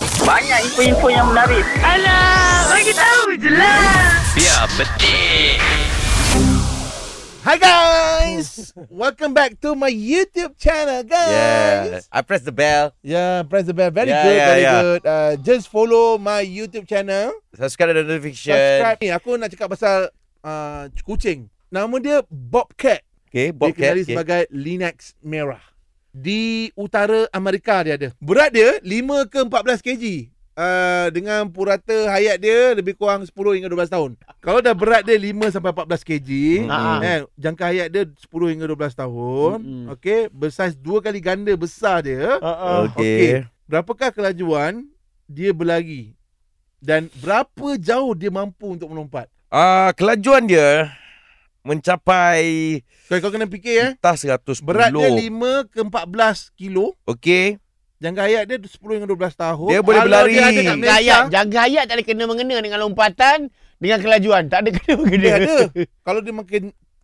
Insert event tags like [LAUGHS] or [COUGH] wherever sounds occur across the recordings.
Banyak info-info yang menarik. Alah, bagi tahu je lah. Biar betik. Hi guys! Welcome back to my YouTube channel, Yeah. guys. I press the bell. Yeah, press the bell. Very Yeah, good, yeah, very yeah. good. Uh, just follow my YouTube channel. Subscribe the notification. Subscribe. Ni aku nak cakap pasal uh, kucing. Nama dia Bobcat. Okay, Dikenali Bobcat. Okay. sebagai Lynx merah. Di utara Amerika dia ada. Berat dia 5 ke 14 kg. Uh, dengan purata hayat dia lebih kurang 10 hingga 12 tahun. Kalau dah berat dia 5 sampai 14 kg, Ah. kan? Jangka hayat dia 10 hingga 12 tahun. Mm-mm. Okey, bersaiz dua kali ganda besar dia. Ah, Uh-uh. Okay. Okey. Berapakah kelajuan dia berlari? Dan berapa jauh dia mampu untuk melompat? Ah, kelajuan dia mencapai So, kau kena Ya. fikir eh. tas 110. Berat dia 5 ke 14 kilo. Okey. Jangka hayat dia 10 hingga 12 tahun. Dia boleh Kalau berlari. Dia ada kat Jaga Malaysia, hayat, jaga hayat tak ada kena mengena dengan lompatan, dengan kelajuan. Tak ada kena mengena. dia [LAUGHS] ada. Kalau dia makin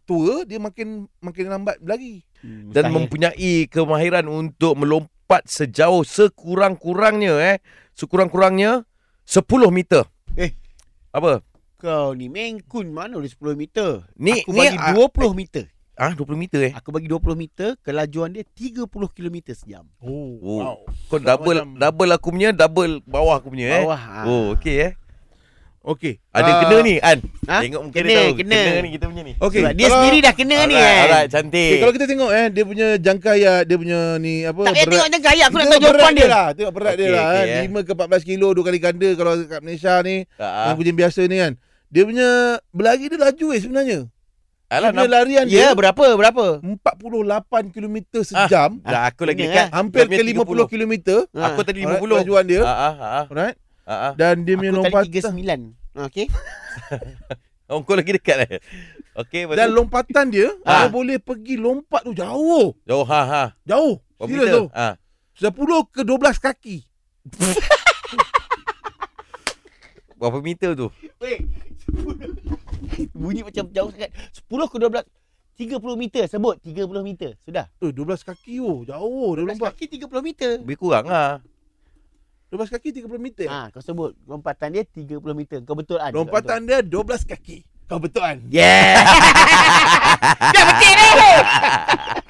tua, dia makin makin lambat berlari. Dan mempunyai kemahiran untuk melompat sejauh sekurang-kurangnya eh. Sekurang-kurangnya 10 meter. Eh. Apa? Kau ni mengkun mana boleh 10 meter? Ni- aku ni, bagi ah, 20 meter. Ah, 20 meter eh. Aku bagi 20 meter, kelajuan dia 30 km sejam. Oh, Oh. wow. Kau double Macam- double aku punya, double bawah aku punya eh. Bawah. ah. Oh, okey eh. Okey. Ada Ah, kena ni An. Ha? Tengok mungkin Kena, dia tahu. kena. ni kita punya ni. Okey. Sebab dia kalau- sendiri dah kena ni Alright, kan. alright, Okay, cantik. kalau kita tengok eh, dia punya jangka hayat, dia punya ni apa Tak payah tengok jaga hayat, aku nak tahu Tengok jawapan berat dia. lah. Tengok berat dia Okey, lah. okey, eh. eh. 5 ke 14 kilo, dua kali ganda kalau kat Malaysia ni. Ah, Yang kucing biasa ni kan. Dia punya berlari dia laju eh sebenarnya. Alah, Dia punya nampak larian Ya, Ah. dia berapa? Berapa? 48 km sejam. dah aku lagi Kena, lah. dekat. Hampir Dia ke punya 50 km. Ha. Aku tadi 50. Alright, Kelajuan dia. Ah, ah, ah, ah, Alright. ah, ah. Dan dia punya Aku tadi lompatan 39. Ah, Okey. [LAUGHS] Oh, kau lagi dekat eh. [LAUGHS] Okey, Dan lompatan dia Ah. Dia boleh pergi lompat tu jauh Oh, ha ha. Jauh Serius tu Ah. 10 ke 12 kaki Berapa meter tu? Weh, 10. Bunyi macam jauh sangat. 10 ke 12 30 meter sebut 30 meter sudah Eh 12 kaki oh Jauh dia lompat kaki 30 meter Lebih kurang ah. 12 kaki 30 meter ha kau sebut lompatan dia 30 meter kau betul kan Lompatan dia 12 kaki Kau betul kan yeah [LAUGHS] dah betul dah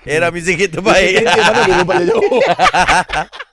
Era muzik kita Dia baik. kira-kira Mana dia lompat jauh